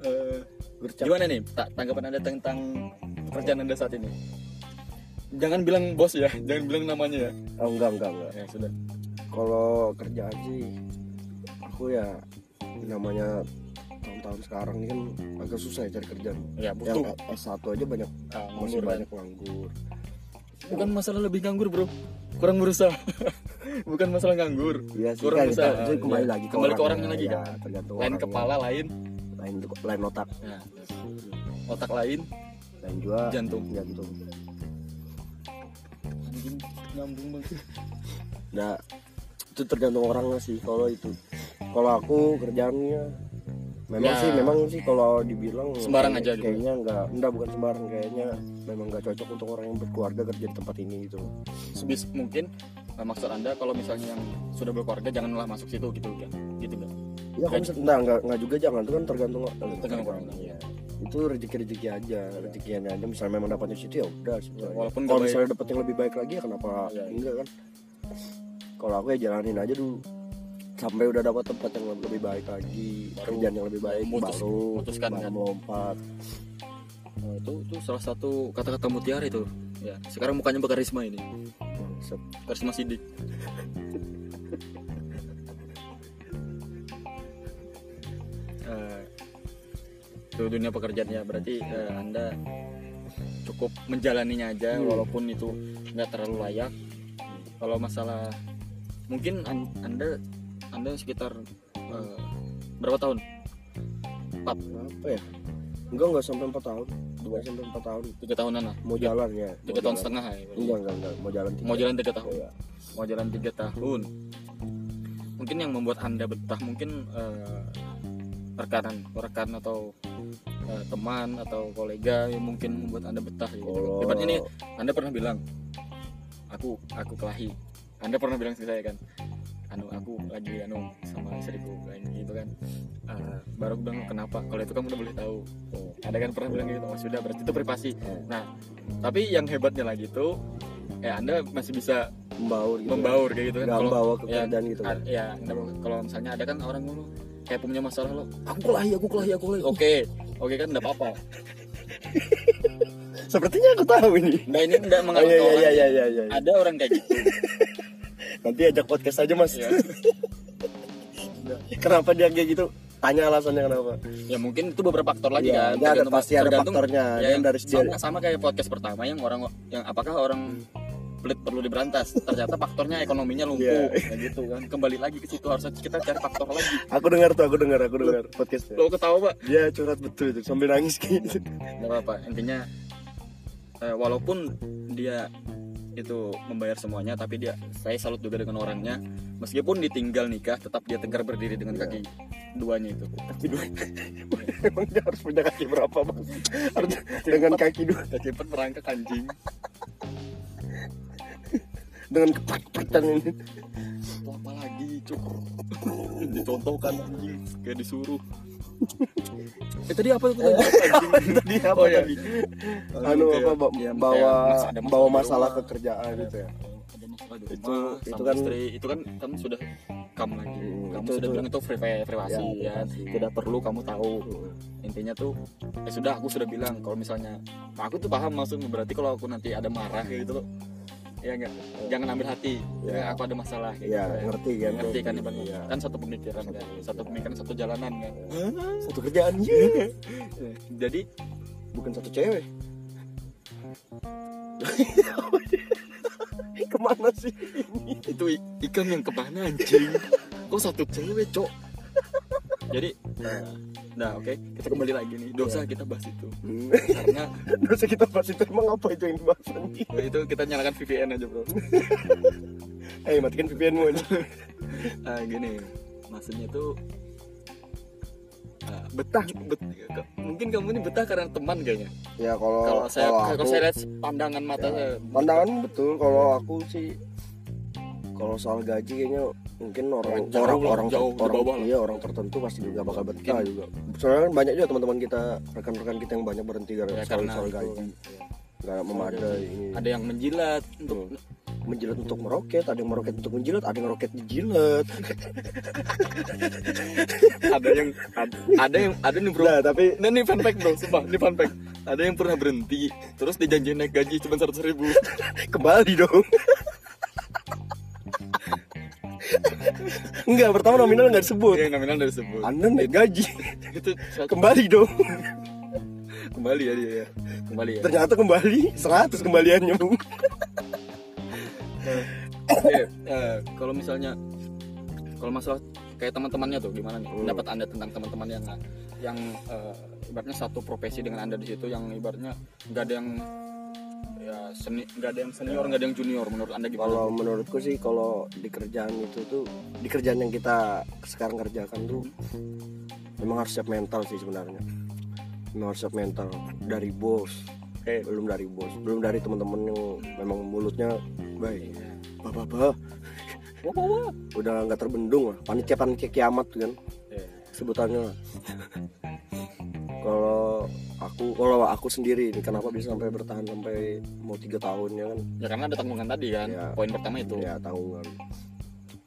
Speaker 1: Eh,
Speaker 2: guru cabul
Speaker 1: gimana nih ta- tanggapan anda tentang pekerjaan anda saat ini? Jangan bilang bos ya, jangan bilang namanya ya.
Speaker 2: oh, enggak enggak enggak
Speaker 1: Ya sudah.
Speaker 2: kalau kerjaan sih aku ya namanya tahun-tahun sekarang ini kan agak susah ya cari kerjaan
Speaker 1: Ya
Speaker 2: yang
Speaker 1: butuh.
Speaker 2: S1 aja banyak
Speaker 1: Ah,
Speaker 2: masih
Speaker 1: nganggur, kan?
Speaker 2: banyak nganggur
Speaker 1: Bukan masalah lebih nganggur bro, kurang berusaha. Bukan masalah nganggur.
Speaker 2: Iya sih,
Speaker 1: Kurang
Speaker 2: kan,
Speaker 1: usaha,
Speaker 2: kan, jadi kembali
Speaker 1: iya.
Speaker 2: lagi ke
Speaker 1: Kembali ke orangnya lagi,
Speaker 2: ya,
Speaker 1: kan?
Speaker 2: tergantung
Speaker 1: Lain
Speaker 2: orangnya. Iya.
Speaker 1: kepala lain,
Speaker 2: lain lain otak
Speaker 1: Nah, otak lain,
Speaker 2: lain juga
Speaker 1: jantung.
Speaker 2: jantung
Speaker 1: Anjing, nyambung banget.
Speaker 2: Nah, itu tergantung orangnya sih kalau itu. Kalau aku kerjaannya memang
Speaker 1: Ya.
Speaker 2: sih memang sih kalau dibilang
Speaker 1: Sembarang aja gitu.
Speaker 2: kayaknya nggak enggak bukan sembarang kayaknya memang nggak cocok untuk orang yang berkeluarga kerja di tempat ini gitu
Speaker 1: Sebis mungkin eh, maksud anda kalau misalnya yang sudah berkeluarga janganlah masuk situ gitu kan, gitu kan.
Speaker 2: ya kamu
Speaker 1: Kayak-
Speaker 2: nah nggak nggak juga jangan itu kan tergantung
Speaker 1: Tergantung iya. orangnya,
Speaker 2: ya. itu rezeki rezeki aja rezekinya aja misalnya memang dapatnya situ ya udah sebetulnya.
Speaker 1: walaupun
Speaker 2: kalau
Speaker 1: nggak
Speaker 2: misalnya dapat yang lebih baik lagi ya kenapa
Speaker 1: Iya.
Speaker 2: enggak kan kalau aku ya jalanin aja dulu sampai udah dapat tempat yang lebih baik lagi
Speaker 1: Baru
Speaker 2: kerjaan yang lebih baik
Speaker 1: memutus-
Speaker 2: baru
Speaker 1: memutuskan
Speaker 2: baru
Speaker 1: kan?
Speaker 2: melompat
Speaker 1: Oh, itu itu salah satu kata-kata mutiara itu. Ya, sekarang mukanya berkarisma ini.
Speaker 2: Set.
Speaker 1: Karisma Sidik. Eh, itu dunia pekerjaan ya berarti eh, anda cukup menjalaninya aja
Speaker 2: Hmm.
Speaker 1: walaupun itu nggak terlalu layak kalau masalah mungkin an- anda anda sekitar eh, berapa tahun
Speaker 2: berapa ya enggak enggak sampai empat tahun dua sampai empat tahun
Speaker 1: tiga tahunan lah
Speaker 2: mau jalan ya mau
Speaker 1: tiga tahun
Speaker 2: jalan.
Speaker 1: setengah ya
Speaker 2: enggak enggak enggak mau jalan tiga.
Speaker 1: mau jalan tiga tahun
Speaker 2: Iya.
Speaker 1: mau jalan tiga tahun mungkin yang membuat anda betah mungkin eh, rekanan rekan atau eh, teman atau kolega yang mungkin membuat anda betah gitu
Speaker 2: Kalau-
Speaker 1: Ibaratnya nih anda pernah bilang aku aku kelahi anda pernah bilang ke saya kan anu aku lagi anu sama istriku kayak gitu kan Eh, baru aku bilang kenapa kalau itu kamu udah boleh tahu
Speaker 2: Oh.
Speaker 1: ada kan pernah bilang gitu oh, sudah berarti itu privasi Nah,
Speaker 2: Eh,
Speaker 1: tapi yang hebatnya lagi itu ya anda masih bisa
Speaker 2: membaur gitu
Speaker 1: membaur kayak gitu kan
Speaker 2: nggak
Speaker 1: kalau
Speaker 2: bawa ke
Speaker 1: ya,
Speaker 2: kerjaan gitu kan
Speaker 1: Ah, ya nggak apa-apa. kalau misalnya ada kan orang dulu kayak punya masalah lo
Speaker 2: aku kelahi aku kelahi aku kelahi
Speaker 1: oke oke kan nggak apa-apa
Speaker 2: sepertinya aku tahu ini
Speaker 1: nggak ini nggak
Speaker 2: oh
Speaker 1: mengaruhi
Speaker 2: iya iya
Speaker 1: orang
Speaker 2: iya iya iya, iya.
Speaker 1: ada orang kayak gitu
Speaker 2: Nanti ajak podcast aja mas.
Speaker 1: Ya.
Speaker 2: kenapa dia kayak gitu? Tanya alasannya kenapa?
Speaker 1: ya mungkin itu beberapa faktor lagi kan
Speaker 2: Iya, dia ada
Speaker 1: tergantung-
Speaker 2: pasti ada
Speaker 1: tergantung-
Speaker 2: faktornya.
Speaker 1: ya,
Speaker 2: Dia
Speaker 1: yang
Speaker 2: dari dia-
Speaker 1: sama, sama kayak podcast pertama yang orang yang apakah orang pelit perlu diberantas ternyata faktornya ekonominya lumpuh
Speaker 2: Iya.
Speaker 1: kayak gitu kan kembali lagi ke situ harusnya kita cari faktor lagi
Speaker 2: Aku dengar tuh, aku dengar, aku dengar podcastnya.
Speaker 1: lo ketawa pak
Speaker 2: Dia curhat betul itu sambil nangis gitu.
Speaker 1: nggak apa-apa intinya eh, walaupun dia itu membayar semuanya tapi dia saya salut juga dengan orangnya meskipun ditinggal nikah tetap dia tegar berdiri dengan
Speaker 2: Iya.
Speaker 1: kaki duanya itu
Speaker 2: Kaki dua. Emang dia harus punya kaki berapa mas? Harus dengan kaki dua,
Speaker 1: kaki empat merangkak anjing
Speaker 2: dengan kepet-kepetan ini.
Speaker 1: Itu apa lagi cukup dicontohkan anjing kayak disuruh eh tadi apa tuh anjing
Speaker 2: Tadi apa
Speaker 1: Oh, iya.
Speaker 2: tadi? Anu
Speaker 1: Kayak-
Speaker 2: apa ba-
Speaker 1: ya,
Speaker 2: bawa
Speaker 1: kayak mas- ada
Speaker 2: bawa
Speaker 1: di
Speaker 2: masalah
Speaker 1: rumah.
Speaker 2: ke kerjaan gitu ya?
Speaker 1: Ada masalah di
Speaker 2: Itu-
Speaker 1: rumah
Speaker 2: itu
Speaker 1: sama
Speaker 2: kan-
Speaker 1: istri. itu kan kamu sudah kamu lagi
Speaker 2: Hmm,
Speaker 1: kamu
Speaker 2: itu-
Speaker 1: sudah
Speaker 2: itu.
Speaker 1: bilang itu priva- privasi
Speaker 2: Ya,
Speaker 1: ya,
Speaker 2: privasi.
Speaker 1: tidak perlu kamu tahu intinya tuh ya sudah aku sudah bilang kalau misalnya nah, aku tuh paham maksudnya berarti kalau aku nanti ada marah kayak gitu loh ya enggak jangan ambil hati
Speaker 2: Ya.
Speaker 1: ya. aku ada masalah kayak
Speaker 2: Iya,
Speaker 1: gitu kan.
Speaker 2: ngerti kan?
Speaker 1: ngerti kan Iban?
Speaker 2: Iya.
Speaker 1: kan satu pemikiran kan satu pemikiran satu jalanan kan
Speaker 2: Satu kerjaan iya.
Speaker 1: jadi
Speaker 2: bukan satu cewek kemana sih ini
Speaker 1: itu i- ikan yang kemana anjing kok satu cewek cok jadi nah oke kita kembali lagi nih dosa
Speaker 2: Iya.
Speaker 1: kita bahas itu
Speaker 2: Hmm.
Speaker 1: karena
Speaker 2: terus kita bahas itu emang apa itu yang dibahas nanti
Speaker 1: itu kita nyalakan VPN aja bro
Speaker 2: eh matikan VPNmu aja
Speaker 1: Ah, gini maksudnya tuh ah, betah bet- ke- mungkin kamu ini betah karena teman kayaknya
Speaker 2: ya kalau
Speaker 1: kalau saya kalau
Speaker 2: aku-
Speaker 1: saya lihat pandangan mata
Speaker 2: ya,
Speaker 1: saya
Speaker 2: pandangan betul kalau aku sih kalau soal gaji kayaknya mungkin orang
Speaker 1: Jauh
Speaker 2: orang
Speaker 1: lah,
Speaker 2: orang
Speaker 1: jauh, di
Speaker 2: orang-
Speaker 1: bawah lah.
Speaker 2: iya orang tertentu pasti juga bakal betah juga
Speaker 1: ya,
Speaker 2: soalnya kan banyak juga teman-teman kita rekan-rekan kita yang banyak berhenti karena
Speaker 1: ya,
Speaker 2: soal,
Speaker 1: karena
Speaker 2: soal
Speaker 1: itu.
Speaker 2: gaji nggak memadai iya. ini
Speaker 1: ada yang menjilat untuk
Speaker 2: menjilat untuk meroket, ada yang meroket untuk menjilat, ada yang meroket dijilat.
Speaker 1: ada yang ad- ada yang ada nih bro
Speaker 2: Nah, tapi
Speaker 1: Nah ini fun fact bro, sumpah ini fun fact Ada yang pernah berhenti, terus dijanjiin naik gaji cuma 100 ribu
Speaker 2: kembali dong. Enggak, pertama nominal nggak disebut.
Speaker 1: Yang Iya, nominal dari sebut
Speaker 2: Anda naik gaji,
Speaker 1: Itu satu-
Speaker 2: kembali dong.
Speaker 1: kembali ya dia ya Kembali ya
Speaker 2: Ternyata kembali 100 kembaliannya, Bung.
Speaker 1: Oke, eh, Kalau misalnya, kalau masalah kayak teman-temannya tuh gimana nih
Speaker 2: Hmm.
Speaker 1: pendapat anda tentang teman-teman yang yang eh, ibaratnya satu profesi dengan anda di situ yang ibaratnya nggak ada yang ya seni nggak ada yang senior nggak ada yang junior menurut anda gimana?
Speaker 2: Kalau menurutku sih kalau di kerjaan itu tuh di kerjaan yang kita sekarang kerjakan tuh memang harus siap mental sih sebenarnya. Memang harus siap mental dari bos, eh,
Speaker 1: Oke.
Speaker 2: belum dari bos, belum dari teman-teman yang memang mulutnya baik.
Speaker 1: Iya.
Speaker 2: Bapak-bapak
Speaker 1: Wah, wah, wah.
Speaker 2: udah nggak terbendung lah panitia panitia kiamat tuh kan
Speaker 1: Iya.
Speaker 2: sebutannya lah. kalau aku kalau aku sendiri ini kenapa bisa sampai bertahan sampai mau tiga tahun ya kan
Speaker 1: Ya karena ada tanggungan tadi kan,
Speaker 2: Iya.
Speaker 1: poin pertama itu.
Speaker 2: ya tanggungan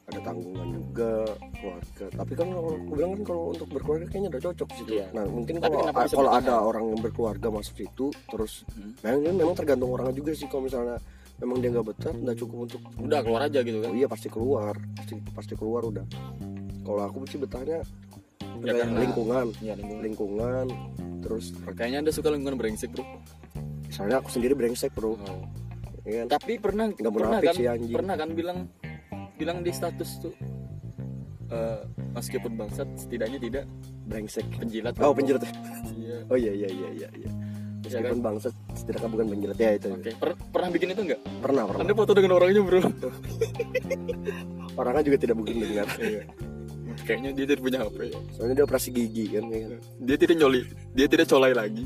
Speaker 2: ada tanggungan juga keluarga tapi kan kalau aku bilang kan kalau untuk berkeluarga kayaknya udah cocok di situ
Speaker 1: Iya.
Speaker 2: nah mungkin
Speaker 1: Tapi
Speaker 2: kalau
Speaker 1: kenapa bisa
Speaker 2: kalau
Speaker 1: bertahan?
Speaker 2: ada orang yang berkeluarga masuk situ terus
Speaker 1: Hmm.
Speaker 2: memang memang tergantung orangnya juga sih kalau misalnya memang dia nggak betah nggak cukup untuk
Speaker 1: Udah keluar aja gitu kan.
Speaker 2: Oh iya pasti keluar, pasti pasti keluar udah. Kalau aku sih betahnya
Speaker 1: Ya,
Speaker 2: kayak
Speaker 1: karena-
Speaker 2: lingkungan,
Speaker 1: Iya, lingkungan.
Speaker 2: lingkungan, terus
Speaker 1: Kayaknya anda suka lingkungan brengsek bro.
Speaker 2: misalnya aku sendiri brengsek bro, ya kan?
Speaker 1: Tapi pernah
Speaker 2: Nggak
Speaker 1: pernah
Speaker 2: munafik
Speaker 1: kan
Speaker 2: sih, ya, anjing.
Speaker 1: pernah kan bilang bilang di status tuh eh, meskipun bangsat setidaknya tidak
Speaker 2: brengsek.
Speaker 1: penjilat.
Speaker 2: Oh penjilat.
Speaker 1: Iya.
Speaker 2: Oh iya iya iya iya. iya. Meskipun bangsa setidaknya bukan penjilat ya itu.
Speaker 1: Oke. Per- pernah bikin itu nggak?
Speaker 2: Pernah pernah.
Speaker 1: Anda foto dengan orangnya bro.
Speaker 2: Orangnya juga tidak mungkin dengar.
Speaker 1: Kayaknya dia tidak punya HP.
Speaker 2: Soalnya dia operasi gigi kan. ya kan?
Speaker 1: Dia tidak nyoli. Dia tidak colai lagi.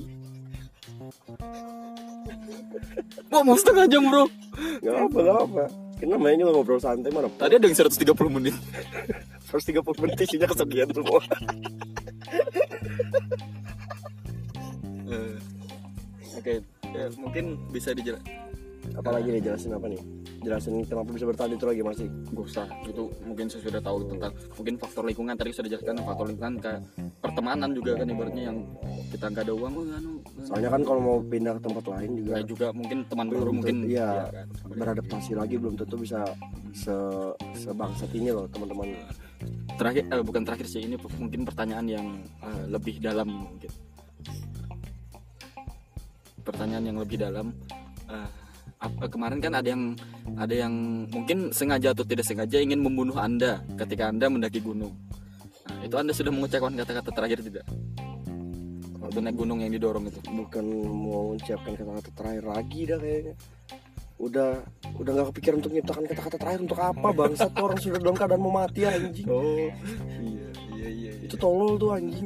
Speaker 1: Wah mau setengah jam bro.
Speaker 2: Gak apa gak apa. Karena namanya juga ngobrol santai mana.
Speaker 1: Tadi ada yang 130 menit.
Speaker 2: Terus 30 menit isinya kesekian semua.
Speaker 1: Eh, Oke. ya, mungkin bisa dijelas.
Speaker 2: Apalagi nih jelasin apa nih? Jelasin kenapa bisa bertahan itu lagi masih.
Speaker 1: Gak usah, itu mungkin saya sudah tahu tentang mungkin faktor lingkungan tadi sudah jelaskan faktor lingkungan kayak pertemanan juga kan ibaratnya yang kita nggak ada uang wah, anu eh.
Speaker 2: Soalnya kan kalau mau pindah ke tempat lain juga
Speaker 1: Ya, juga mungkin teman
Speaker 2: Belum
Speaker 1: baru
Speaker 2: tentu,
Speaker 1: mungkin
Speaker 2: iya.
Speaker 1: kan.
Speaker 2: beradaptasi lagi belum tentu bisa se sebangsat ini loh teman-teman
Speaker 1: terakhir eh, bukan terakhir sih ini mungkin pertanyaan yang eh, lebih dalam mungkin pertanyaan yang lebih dalam Eh, ap- kemarin kan ada yang ada yang mungkin sengaja atau tidak sengaja ingin membunuh anda ketika anda mendaki gunung Nah, itu anda sudah mengucapkan kata-kata terakhir tidak waktu naik gunung yang didorong itu
Speaker 2: bukan mau mengucapkan kata-kata terakhir lagi dah kayaknya udah udah nggak kepikiran untuk menciptakan kata-kata terakhir untuk apa bangsat tuh orang sudah dalam keadaan mau mati anjing
Speaker 1: oh iya iya iya itu
Speaker 2: itu tolol tuh anjing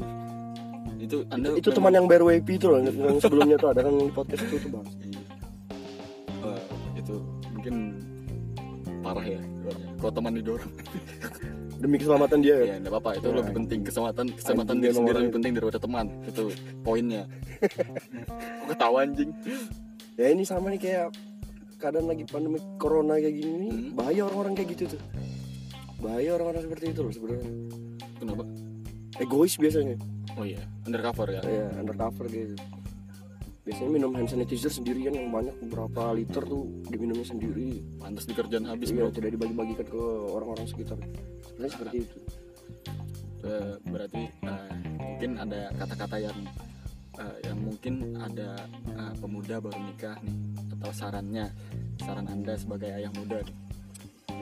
Speaker 1: itu anda
Speaker 2: itu
Speaker 1: memang-
Speaker 2: teman yang bare WP itu loh yang sebelumnya tuh ada kan di podcast itu tuh bang
Speaker 1: Iya. Eh, itu mungkin parah ya kalau teman didorong
Speaker 2: demi keselamatan dia kan
Speaker 1: ya nggak apa-apa itu
Speaker 2: Ya,
Speaker 1: lebih penting keselamatan keselamatan
Speaker 2: anjing
Speaker 1: diri
Speaker 2: yang
Speaker 1: sendiri
Speaker 2: orang
Speaker 1: lebih penting daripada teman itu poinnya Kok ketawa anjing
Speaker 2: ya ini sama nih kayak keadaan lagi pandemi corona kayak gini nih,
Speaker 1: Hmm.
Speaker 2: bahaya orang-orang kayak gitu tuh bahaya orang-orang seperti itu loh sebenarnya
Speaker 1: kenapa
Speaker 2: egois biasanya
Speaker 1: oh iya undercover ya
Speaker 2: ya undercover gitu biasanya minum hand sanitizer sendirian yang banyak beberapa liter tuh diminumnya sendiri
Speaker 1: pantas di kerjaan habis
Speaker 2: Iya,
Speaker 1: bro
Speaker 2: tidak dibagi-bagikan ke orang-orang sekitar sebenarnya seperti itu
Speaker 1: Eh, berarti eh, mungkin ada kata-kata yang eh, yang mungkin ada eh, pemuda baru nikah nih atau sarannya saran anda sebagai ayah muda nih.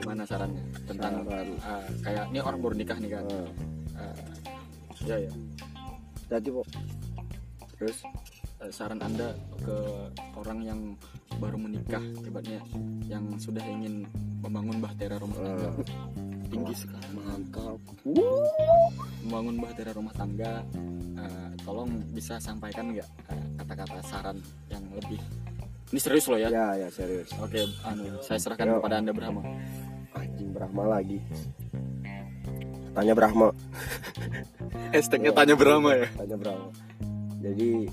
Speaker 1: gimana sarannya tentang
Speaker 2: Saran.
Speaker 1: eh, kayak ini orang baru nikah nih kan
Speaker 2: Nah,
Speaker 1: Eh, ya ya
Speaker 2: jadi kok terus
Speaker 1: Eh, saran anda ke orang yang baru menikah hebatnya yang sudah ingin membangun bahtera rumah tangga
Speaker 2: Eh.
Speaker 1: tinggi sekali
Speaker 2: mantap Wuh,
Speaker 1: membangun bahtera rumah tangga eh, tolong bisa sampaikan nggak eh, kata-kata saran yang lebih ini serius loh ya
Speaker 2: ya ya serius
Speaker 1: oke anu saya serahkan
Speaker 2: Ya.
Speaker 1: kepada anda Brahma
Speaker 2: anjing Brahma lagi tanya Brahma
Speaker 1: hashtagnya
Speaker 2: Iya.
Speaker 1: tanya Brahma ya
Speaker 2: tanya Brahma jadi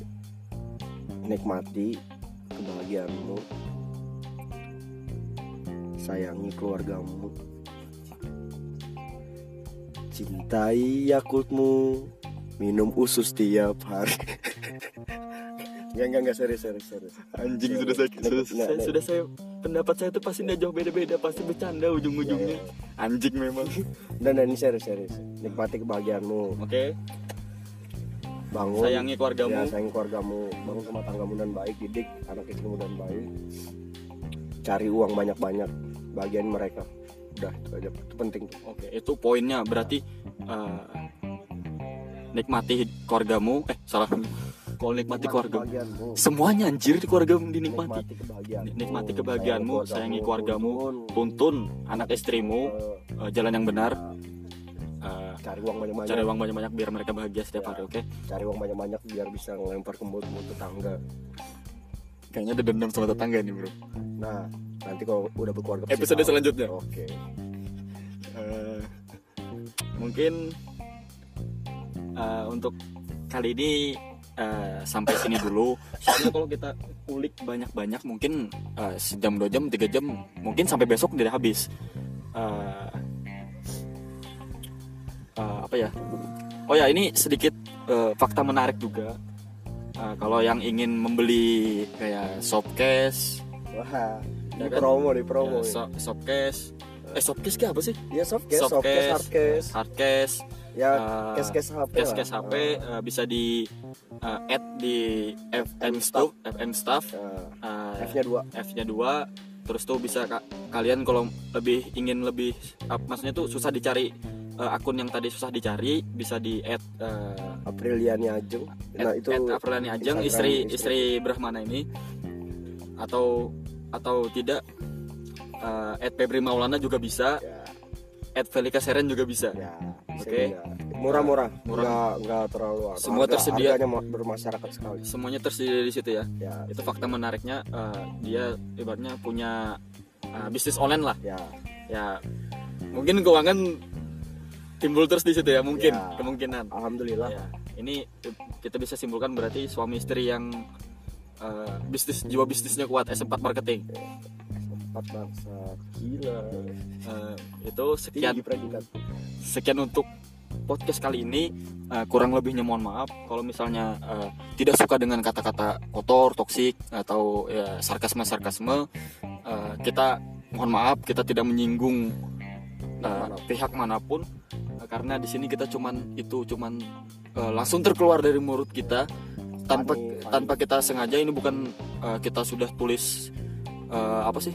Speaker 2: nikmati kebahagiaanmu sayangi keluargamu cintai Yakultmu minum usus tiap hari Enggak, enggak, enggak, serius, serius, serius
Speaker 1: anjing
Speaker 2: sudah saya- sudah- saya- sudah
Speaker 1: saya pendapat saya tuh pasti nggak jauh beda-beda pasti bercanda
Speaker 2: ujung-ujungnya.
Speaker 1: Ya, anjing memang
Speaker 2: Dan, dan, ini serius, serius Nikmati kebahagiaanmu
Speaker 1: oke
Speaker 2: Bangun
Speaker 1: sayangi keluargamu
Speaker 2: Ya, sayang keluargamu, bangun rumah tanggamu dan baik, didik anak istrimu dan baik. Cari uang banyak-banyak, bagian mereka. Udah, itu aja. Itu penting.
Speaker 1: Oke, itu poinnya berarti eh, nikmati keluargamu. Eh, salah. Kalau nikmati keluarga,
Speaker 2: kebahagiaanmu.
Speaker 1: semuanya anjir di keluarga dinikmati.
Speaker 2: kebahagiaanmu.
Speaker 1: Nikmati kebahagiaanmu, sayangi keluargamu,
Speaker 2: tuntun,
Speaker 1: tuntun anak istrimu
Speaker 2: eh,
Speaker 1: eh, jalan yang benar. Eh,
Speaker 2: cari uang banyak-banyak.
Speaker 1: cari uang banyak-banyak biar mereka bahagia setiap
Speaker 2: Ya.
Speaker 1: hari, oke?
Speaker 2: Cari uang banyak-banyak biar bisa ngelempar ke mulut-mulut tetangga.
Speaker 1: Kayaknya ada dendam sama tetangga nih, Bro.
Speaker 2: Nah, nanti kalau udah berkeluarga pasti
Speaker 1: Episode
Speaker 2: tahu.
Speaker 1: selanjutnya.
Speaker 2: Oke.
Speaker 1: Eh, mungkin eh, untuk kali ini eh, sampai sini dulu soalnya kalau kita ulik banyak-banyak mungkin eh, sejam dua jam tiga jam mungkin sampai besok tidak habis Eh, eh, apa ya oh ya ini sedikit eh, fakta menarik juga Eh, kalau yang ingin membeli kayak shopcase
Speaker 2: Wah,
Speaker 1: Ya
Speaker 2: ini
Speaker 1: kan?
Speaker 2: promo, di promo.
Speaker 1: eh,
Speaker 2: ini.
Speaker 1: so- shopcase eh shopcase kayak apa sih
Speaker 2: Ya, soft case, soft
Speaker 1: Softcase,
Speaker 2: case, hard case.
Speaker 1: Ah, hardcase
Speaker 2: Ya,
Speaker 1: eh,
Speaker 2: case-case HP lah. Ah.
Speaker 1: Cash-cash HP eh, bisa di eh, add di FM Stuff, FM Stuff.
Speaker 2: Nah,
Speaker 1: eh,
Speaker 2: F-nya dua.
Speaker 1: F-nya 2 terus tuh bisa ka- kalian kalau lebih ingin lebih ap- maksudnya tuh susah dicari eh, akun yang tadi susah dicari bisa di add eh,
Speaker 2: Apriliani Ajeng. Nah,
Speaker 1: At-
Speaker 2: itu
Speaker 1: at Apriliani Ajeng
Speaker 2: Instagram gitu.
Speaker 1: istri
Speaker 2: istri.
Speaker 1: istri Brahmana ini atau atau tidak eh, at Febri Maulana juga bisa
Speaker 2: ya,
Speaker 1: at Felika Seren juga bisa
Speaker 2: ya, bisa
Speaker 1: Oke.
Speaker 2: juga. Murah-murah.
Speaker 1: Murah.
Speaker 2: Enggak enggak terlalu apa.
Speaker 1: Semua
Speaker 2: Harga-
Speaker 1: tersedia.
Speaker 2: Harganya ma- bermasyarakat sekali.
Speaker 1: semuanya tersedia di situ ya
Speaker 2: Ya,
Speaker 1: itu fakta menariknya eh, dia ibaratnya punya eh, bisnis online lah
Speaker 2: ya.
Speaker 1: ya mungkin keuangan timbul terus di situ ya mungkin
Speaker 2: Ya.
Speaker 1: kemungkinan
Speaker 2: Alhamdulillah.
Speaker 1: ya ini kita bisa simpulkan berarti suami istri yang eh, bisnis jiwa bisnisnya kuat S4 marketing
Speaker 2: Empat bangsa gila.
Speaker 1: Eh, itu sekian
Speaker 2: Tinggi predikat.
Speaker 1: sekian untuk podcast kali ini Eh, kurang lebihnya mohon maaf kalau misalnya eh, tidak suka dengan kata-kata kotor, toksik atau ya, sarkasme-sarkasme Eh, kita mohon maaf kita tidak menyinggung eh,
Speaker 2: Manapun.
Speaker 1: pihak manapun eh, karena di sini kita cuman itu cuman eh, langsung terkeluar dari mulut kita tanpa
Speaker 2: Panik, panik.
Speaker 1: tanpa kita sengaja ini bukan eh, kita sudah tulis eh, apa sih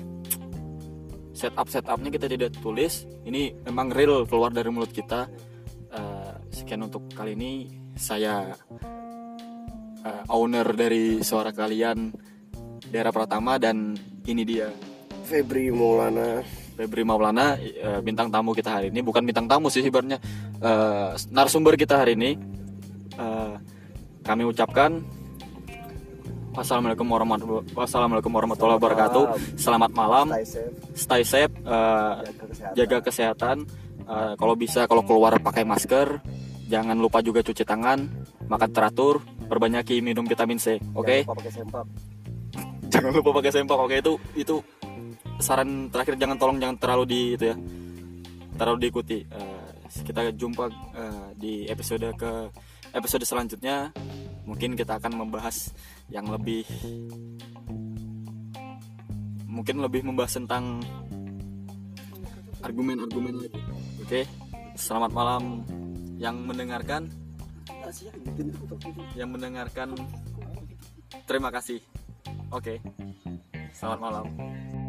Speaker 1: setup setupnya kita tidak tulis ini memang real keluar dari mulut kita Eh, sekian untuk kali ini saya eh, owner dari suara kalian daerah Pratama dan ini dia
Speaker 2: Febri Maulana
Speaker 1: Febri Maulana eh, bintang tamu kita hari ini bukan bintang tamu sih ibaratnya eh, narsumber kita hari ini Eh, kami ucapkan Wassalamualaikum warahmatullahi, wassalamualaikum warahmatullahi wabarakatuh Selamat malam
Speaker 2: Stay
Speaker 1: Stay
Speaker 2: safe,
Speaker 1: safe eh,
Speaker 2: jaga kesehatan.
Speaker 1: Jaga kesehatan Eh, Kalau bisa kalau keluar pakai masker Jangan lupa juga cuci tangan Makan teratur Perbanyaki minum vitamin C Oke
Speaker 2: Jangan lupa pakai sempak.
Speaker 1: Jangan lupa pakai sempak Oke itu itu saran terakhir jangan tolong jangan terlalu di itu ya terlalu diikuti Eh, kita jumpa eh, di episode ke episode selanjutnya mungkin kita akan membahas yang lebih mungkin lebih membahas tentang argumen-argumen lagi oke selamat malam yang mendengarkan yang mendengarkan terima kasih oke selamat malam